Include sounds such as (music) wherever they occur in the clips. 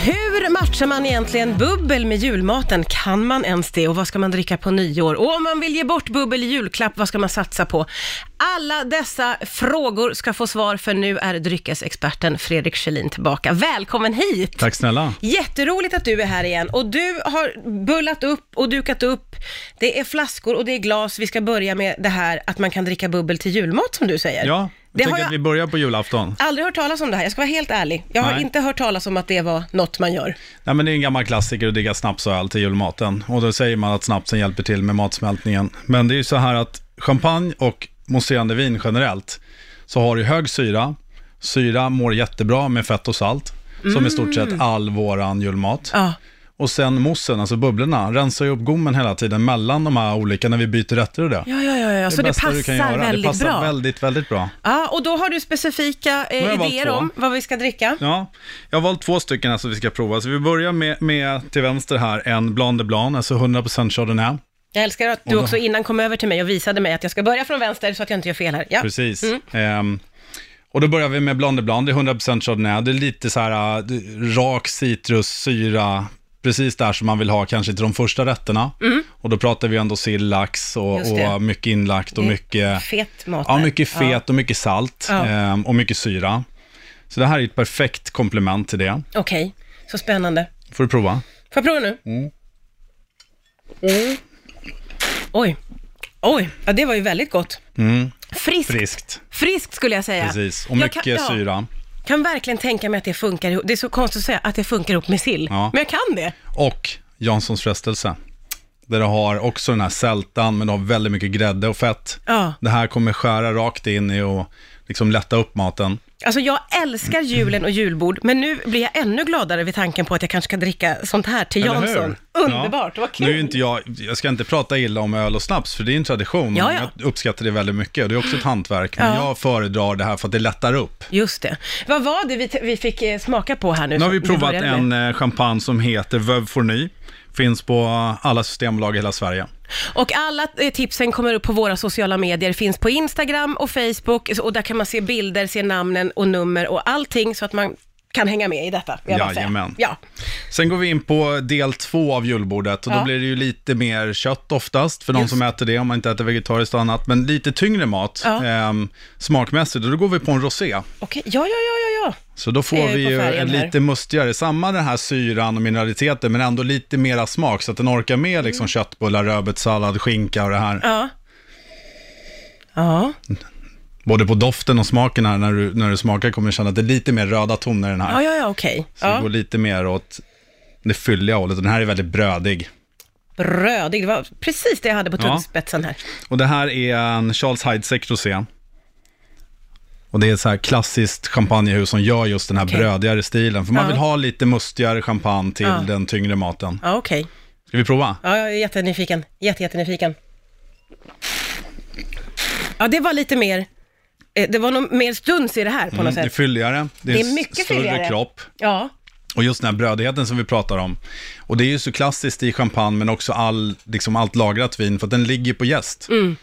Hur matchar man egentligen bubbel med julmaten? Kan man ens det? Och vad ska man dricka på nyår? Och om man vill ge bort bubbel i julklapp, vad ska man satsa på? Alla dessa frågor ska få svar, för nu är dryckesexperten Fredrik Kjellin tillbaka. Välkommen hit! Tack snälla. Jätteroligt att du är här igen. Och du har bullat upp och dukat upp. Det är flaskor och det är glas. Vi ska börja med det här att man kan dricka bubbel till julmat, som du säger. Ja, jag det tänker har att vi jag börjar på julafton. aldrig hört talas om det här. Jag ska vara helt ärlig. Jag har Nej. inte hört talas om att det var något man gör. Nej, men det är en gammal klassiker att dricka snaps och öl till julmaten. Och då säger man att snapsen hjälper till med matsmältningen. Men det är ju så här att champagne och mousserande vin generellt, så har du hög syra. Syra mår jättebra med fett och salt, som i stort Mm. sett all våran julmat. Ja. Och sen moussen, alltså bubblorna, rensar ju upp gommen hela tiden mellan de här olika, när vi byter rätter och det. Ja, ja, ja, ja. så det bästa du kan passar göra. väldigt Det passar bra. väldigt, väldigt bra. Ja, och då har du specifika har jag eh, valt idéer två. om vad vi ska dricka. Ja, jag har valt två stycken här som vi ska prova. Så vi börjar med, med till vänster här, en Blanc de Blanc, alltså 100% Chardonnay. Jag älskar att du också innan kom över till mig och visade mig att jag ska börja från vänster så att jag inte gör fel här. Ja. Precis. Ehm, och då börjar vi med Blanc de Blanc, det är 100% Chardonnay. Det är lite så här äh, rak citrus, syra, precis där som man vill ha kanske till de första rätterna. Och då pratar vi ändå sill, lax och, Mm. Just det. och mycket inlagt och Det är mycket... Fet mat. Ja, där. mycket fet och mycket salt Ja. ehm, och mycket syra. Så det här är ett perfekt komplement till det. Ja. Okej, så spännande. Får du prova? Får jag prova nu? Mm. Oj. Oj, ja, det var ju väldigt gott. Friskt. Friskt, Friskt skulle jag säga. Mm. precis. Och Jag mycket kan, ja, syra. kan verkligen tänka mig att det funkar ihop. Det är så konstigt att säga att det funkar ihop med sill. Ja. Men jag kan det. och Janssons frestelse. Där du har också den här sältan, men du har väldigt mycket grädde och fett. Ja. Det här kommer skära rakt in i och liksom lätta upp maten. Alltså jag älskar julen och julbord, men nu blir jag ännu gladare vid tanken på att jag kanske kan dricka sånt här till Eller Jansson. hur? Underbart, Ja. vad Nu är ju kul! inte jag, jag ska inte prata illa om öl och snaps, för det är en tradition. Ja, och ja. Jag uppskattar det väldigt mycket. Det är också ett hantverk, men Ja. jag föredrar det här för att det lättar upp. Just det. Vad var det vi, t- vi fick eh, smaka på här nu? Nu har som vi provat började med? en eh, champagne som heter Veuve Fourny. Finns på eh, alla systembolag i hela Sverige. Och alla eh, tipsen kommer upp på våra sociala medier, finns på Instagram och Facebook och där kan man se bilder, se namnen och nummer och allting så att man kan hänga med i detta. vill jag bara säga. Jajamän. Ja. Sen går vi in på del två av julbordet och Ja. då blir det ju lite mer kött oftast för de Just. som äter det, om man inte äter vegetariskt och annat, men lite tyngre mat Ja. ehm, smakmässigt och då går vi på en rosé. Okej, ja, ja, ja, ja, ja. Så då Ser får vi vi Eh, på ju färgen en här. lite mustigare, samma den här syran och mineraliteten men ändå lite mera smak så att den orkar Mm. med liksom köttbullar, rödbetssallad, skinka och det här. Ja. Ja. Både på doften och smaken här när du, när du smakar kommer du känna att det är lite mer röda toner i den här. Ja, ja, ja, okej. Så det Ja. går lite mer åt det fylliga hållet och den här är väldigt brödig. Rödig, det var precis det jag hade på Ja. tuggspetsen här. Och det här är en Charles Heidseck rosé. Och det är ett så här klassiskt champagnehus som gör just den här Okej. brödigare stilen. För man Ja. vill ha lite mustigare champagne till Ja. den tyngre maten. Ja, okej. Ska vi prova? Ja, jag är jättenyfiken. Jätte, jättenyfiken. Ja, det var lite mer... eh, Det var nog mer stuns i det här på något Mm, Det är sätt. fylligare, det är, Det är mycket större fylligare. kropp. Ja, Och just den här brödigheten som vi pratar om. Och det är ju så klassiskt i champagne, men också all, liksom allt lagrat vin, för att den ligger på jäst Mm.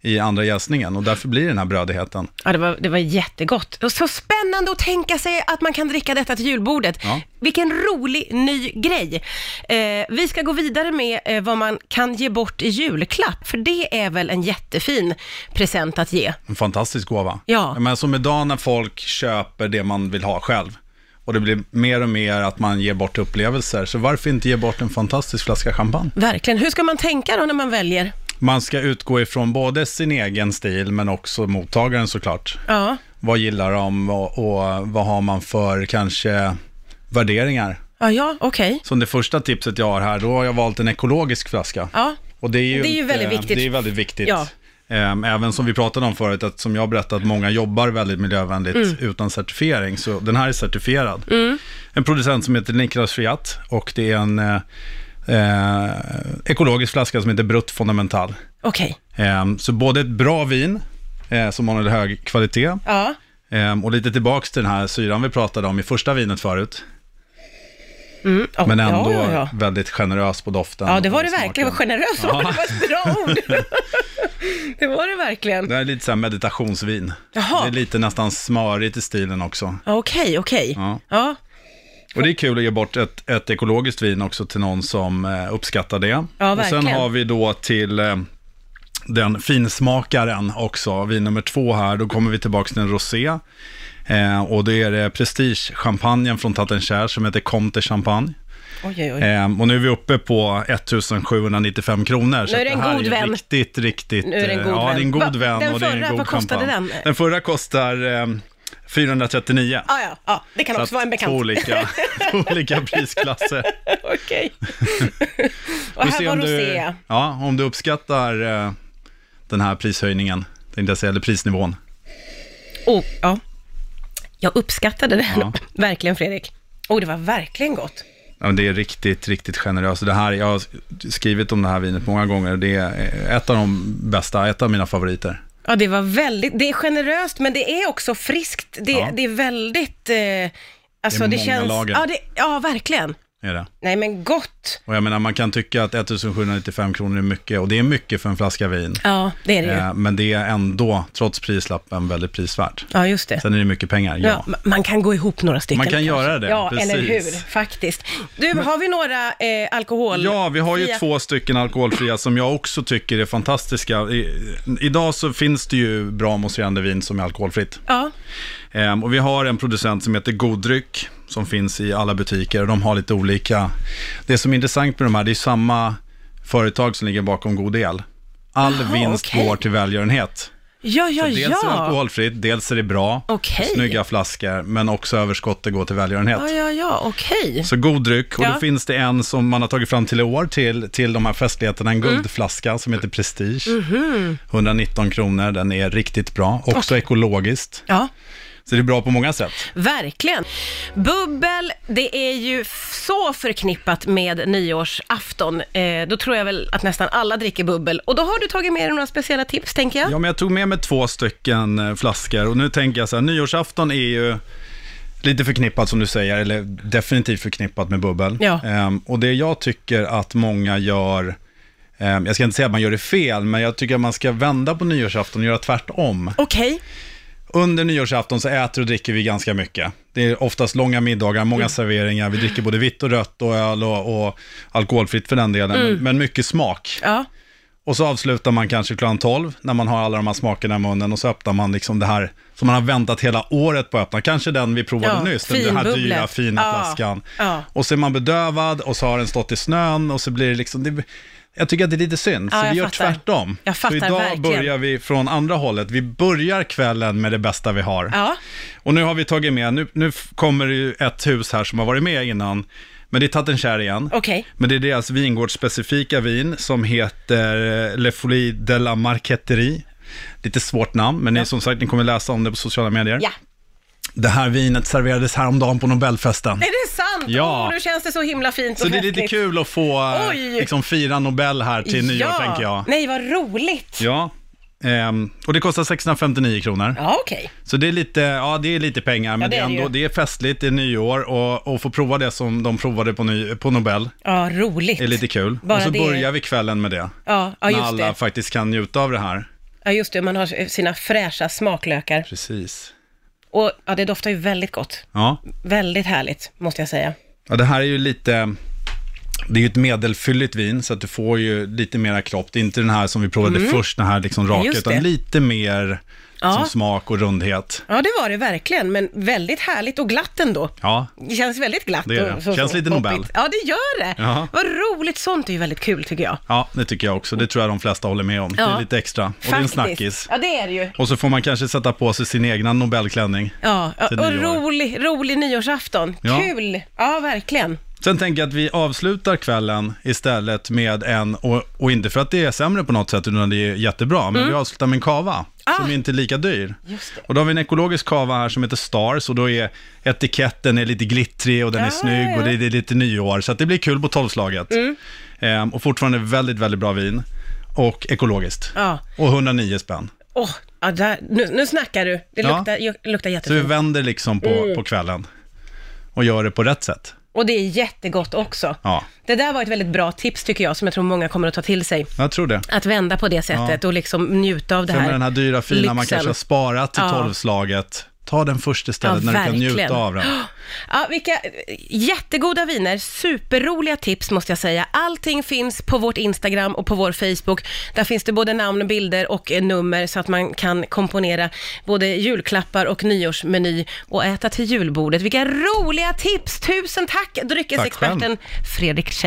i andra jäsningen. Och därför blir det den här brödigheten. ja det, var, det var jättegott. Och så spännande att tänka sig att man kan dricka detta till julbordet. Ja. Vilken rolig ny grej. Eh, vi ska gå vidare med eh, vad man kan ge bort i julklapp, för det är väl en jättefin present att ge. En fantastisk gåva. Ja. Jag menar, som idag när folk köper det man vill ha själv. Och det blir mer och mer att man ger bort upplevelser. Så varför inte ge bort en fantastisk flaska champagne? Verkligen. Hur ska man tänka då när man väljer? Man ska utgå ifrån både sin egen stil, men också mottagaren såklart. Ja, Vad gillar de och, och vad har man för kanske värderingar? ja, ja okej. Som det första tipset jag har här, då har jag valt en ekologisk flaska. Ja. Och det är ju, Det är ju inte- väldigt viktigt. Det är väldigt viktigt. Ja. Ehm, Även som vi pratade om förut, att som jag berättat, många jobbar väldigt miljövänligt Mm. utan certifiering. Så den här är certifierad. En producent som heter Niklas Friat och det är en eh, eh, ekologisk flaska som heter Brutt Fundamental. Okej. Ehm, så både ett bra vin, eh, som har en hög kvalitet, Ja. ehm, och lite tillbaks till den här syran vi pratade om i första vinet förut. Mm. ja, Men ändå Ja, ja, ja. väldigt generös på doften. ja det var och det smaken. verkligen. Vad generös var det. Det var ett bra (laughs) ord. det var det verkligen. Det här är lite så här meditationsvin. Jaha. Det är lite nästan smörigt i stilen också. Ja, Okej, okej. Ja. Ja. Och det är kul att ge bort ett, ett ekologiskt vin också till någon som eh, uppskattar det. Ja, och sen verkligen. har vi då till eh, den finsmakaren också, vin nummer två här, då kommer vi tillbaka till en rosé. Eh, och det är eh, prestigechampagnen från Tattenkärr som heter Comte Champagne. Oj, oj, oj. Eh, och nu är vi uppe på 1795 kronor. Nu är det en här god ju vän. Riktigt, riktigt. Nu är det en eh, god ja, det är en vän. god Va- vän den och det är en förra, god vad kostade champagne. den? Den förra kostar eh, 439. Ah, ja, ja, det kan Så också vara en att bekant. Två olika, två olika prisklasser. (laughs) (laughs) Okej. Och Vi får här se var om du- rosé. Ja, om du uppskattar eh, den här prishöjningen, tänkte jag säga, eller prisnivån. Oh, ja. Jag uppskattade den. Ja. (laughs) verkligen Fredrik. Oh, det var verkligen gott. Ja, men det är riktigt, riktigt generöst. Det här, jag har skrivit om det här vinet många gånger och det är eh, ett av de bästa, ett av mina favoriter. Ja, det var väldigt, det är generöst men det är också friskt. Det, Ja. det är väldigt, eh, alltså Det det, är många känns... lager. Ja, det, ja, verkligen. Är det. Nej men gott. Och jag menar, man kan tycka att 1795 kronor är mycket, och det är mycket för en flaska vin. Ja, det är det ju. Eh, Men det är ändå, trots prislappen, väldigt prisvärt. Ja, just det. Sen är det mycket pengar, ja. Ja, ma- man kan gå ihop några stycken. Man kan kanske. göra det, Ja, precis. eller hur, faktiskt. Du, har vi några eh, alkohol... Ja, vi har ju fria- två stycken alkoholfria som jag också tycker är fantastiska. I, idag så finns det ju bra mousserande vin som är alkoholfritt. Ja, Ehm, och vi har en producent som heter Godryck som finns i alla butiker och de har lite olika. Det som är intressant med de här, det är samma företag som ligger bakom God El. All vinst okej. går till välgörenhet. ja, ja. Dels är det ja. alkoholfritt, dels är det bra, Okej. snygga flaskor, men också överskottet går till välgörenhet. Ja, ja, ja, okej. Så god dryck. Och Ja. då finns det en som man har tagit fram till i år till, till de här festligheterna, Mm. en guldflaska som heter Prestige. Mhm. 119 kronor, den är riktigt bra. Också ekologiskt. Ja, Så det är bra på många sätt. verkligen. Bubbel, det är ju f- så förknippat med nyårsafton. Eh, då tror jag väl att nästan alla dricker bubbel. Och då har du tagit med dig några speciella tips, tänker jag. Ja, men jag tog med mig två stycken eh, flaskor och nu tänker jag så här, nyårsafton är ju lite förknippat som du säger, eller definitivt förknippat med bubbel. Ja. Ehm, och det jag tycker att många gör, ehm, jag ska inte säga att man gör det fel, men jag tycker att man ska vända på nyårsafton och göra tvärtom. Okej. Under nyårsafton så äter och dricker vi ganska mycket. Det är oftast långa middagar, många serveringar, vi dricker både vitt och rött och öl och, och alkoholfritt för den delen, men, men mycket smak. Ja. Och så avslutar man kanske klockan 12 när man har alla de här smakerna i munnen och så öppnar man liksom det här som man har väntat hela året på att öppna. Kanske den vi provade Ja, nyss, den, den här finbubblet. dyra fina Ja, flaskan. ja. Och så är man bedövad och så har den stått i snön och så blir det liksom, det, jag tycker att det är lite synd, Ja, så jag vi gör fattar. tvärtom. Jag fattar så idag verkligen. börjar vi från andra hållet, vi börjar kvällen med det bästa vi har. Ja. Och nu har vi tagit med, nu, nu f- kommer det ju ett hus här som har varit med innan, men det är Tattenkärr igen. Okej. Men det är deras vingårdsspecifika vin som heter eh, Le Folie de la Marqueterie. Lite svårt namn, men ni, som sagt, ni kommer läsa om det på sociala medier. Ja. Det här vinet serverades häromdagen på Nobelfesten. Är det sant? Ja. Åh, nu känns det så himla fint Så och det är lite festligt. kul att få eh, Oj. liksom, fira Nobel här till nyår, ja. tänker jag. Nej, vad roligt. Ja, Ja. Ehm, och det kostar 659 kronor. okej. Så det är lite, ja, det är lite pengar, men det det, är är det ändå, ju. det är festligt, det är nyår och, och få prova det som de provade på, ny, på Nobel Ja, roligt. är lite kul. Bara och så det- börjar vi kvällen med det. Ja, ja, när just alla det. faktiskt kan njuta av det här. Ja, just det. Man har sina fräscha smaklökar. Precis. Och ja, det doftar ju väldigt gott. Ja. Väldigt härligt, måste jag säga. ja, det här är ju lite, det är ju ett medelfylligt vin, så att du får ju lite mera kropp. Det är inte den här som vi provade först, den här liksom raka, Mm. Just det. utan lite mer Ja. som smak och rundhet. Ja, det var det verkligen, men väldigt härligt och glatt ändå. Ja, Det känns väldigt glatt. Det är det. och så- Känns lite och Nobel. poppigt. Ja, det gör det. Ja. Vad roligt. Sånt är ju väldigt kul, tycker jag. ja, det tycker jag också. Det tror jag de flesta håller med om. Det Ja. är lite extra, och det är en snackis. Ja, det är det ju. Och så får man kanske sätta på sig sin egna Nobelklänning. Ja, ja, Till och nyår. rolig, rolig nyårsafton. Ja. Kul! Ja, verkligen. Sen tänker jag att vi avslutar kvällen istället med en, och, och inte för att det är sämre på något sätt, utan det är jättebra, men vi avslutar med en kava som inte är lika dyr. Mm. Ah. Just det. Och då har vi en ekologisk kava här som heter Stars, och då är etiketten är lite glittrig och den Ja, är snygg ja, och ja. Mm. det, det är lite nyår, så att det blir kul på tolvslaget. Ehm, och fortfarande väldigt, väldigt bra vin. Och ekologiskt. Ja. Och 109 spänn. Åh, ja, där, nu, nu snackar du. Det Ja. luktar, ju- luktar Så vi jättefint. vänder liksom på, Mm. på kvällen och gör det på rätt sätt. Och det är jättegott också. Ja, Det där var ett väldigt bra tips tycker jag, som jag tror många kommer att ta till sig. jag tror det. Att vända på det sättet och liksom njuta av det Sen här. med den här dyra fina man lyxen. kanske har sparat till Ja. tolvslaget. Ta den först istället Ja, när du kan verkligen. njuta av den. (gasps) Ja, vilka jättegoda viner, superroliga tips måste jag säga. Allting finns på vårt Instagram och på vår Facebook. Där finns det både namn, bilder och eh, nummer så att man kan komponera både julklappar och nyårsmeny och äta till julbordet. Vilka roliga tips! Tusen tack dryckesexperten Fredrik Kjellin.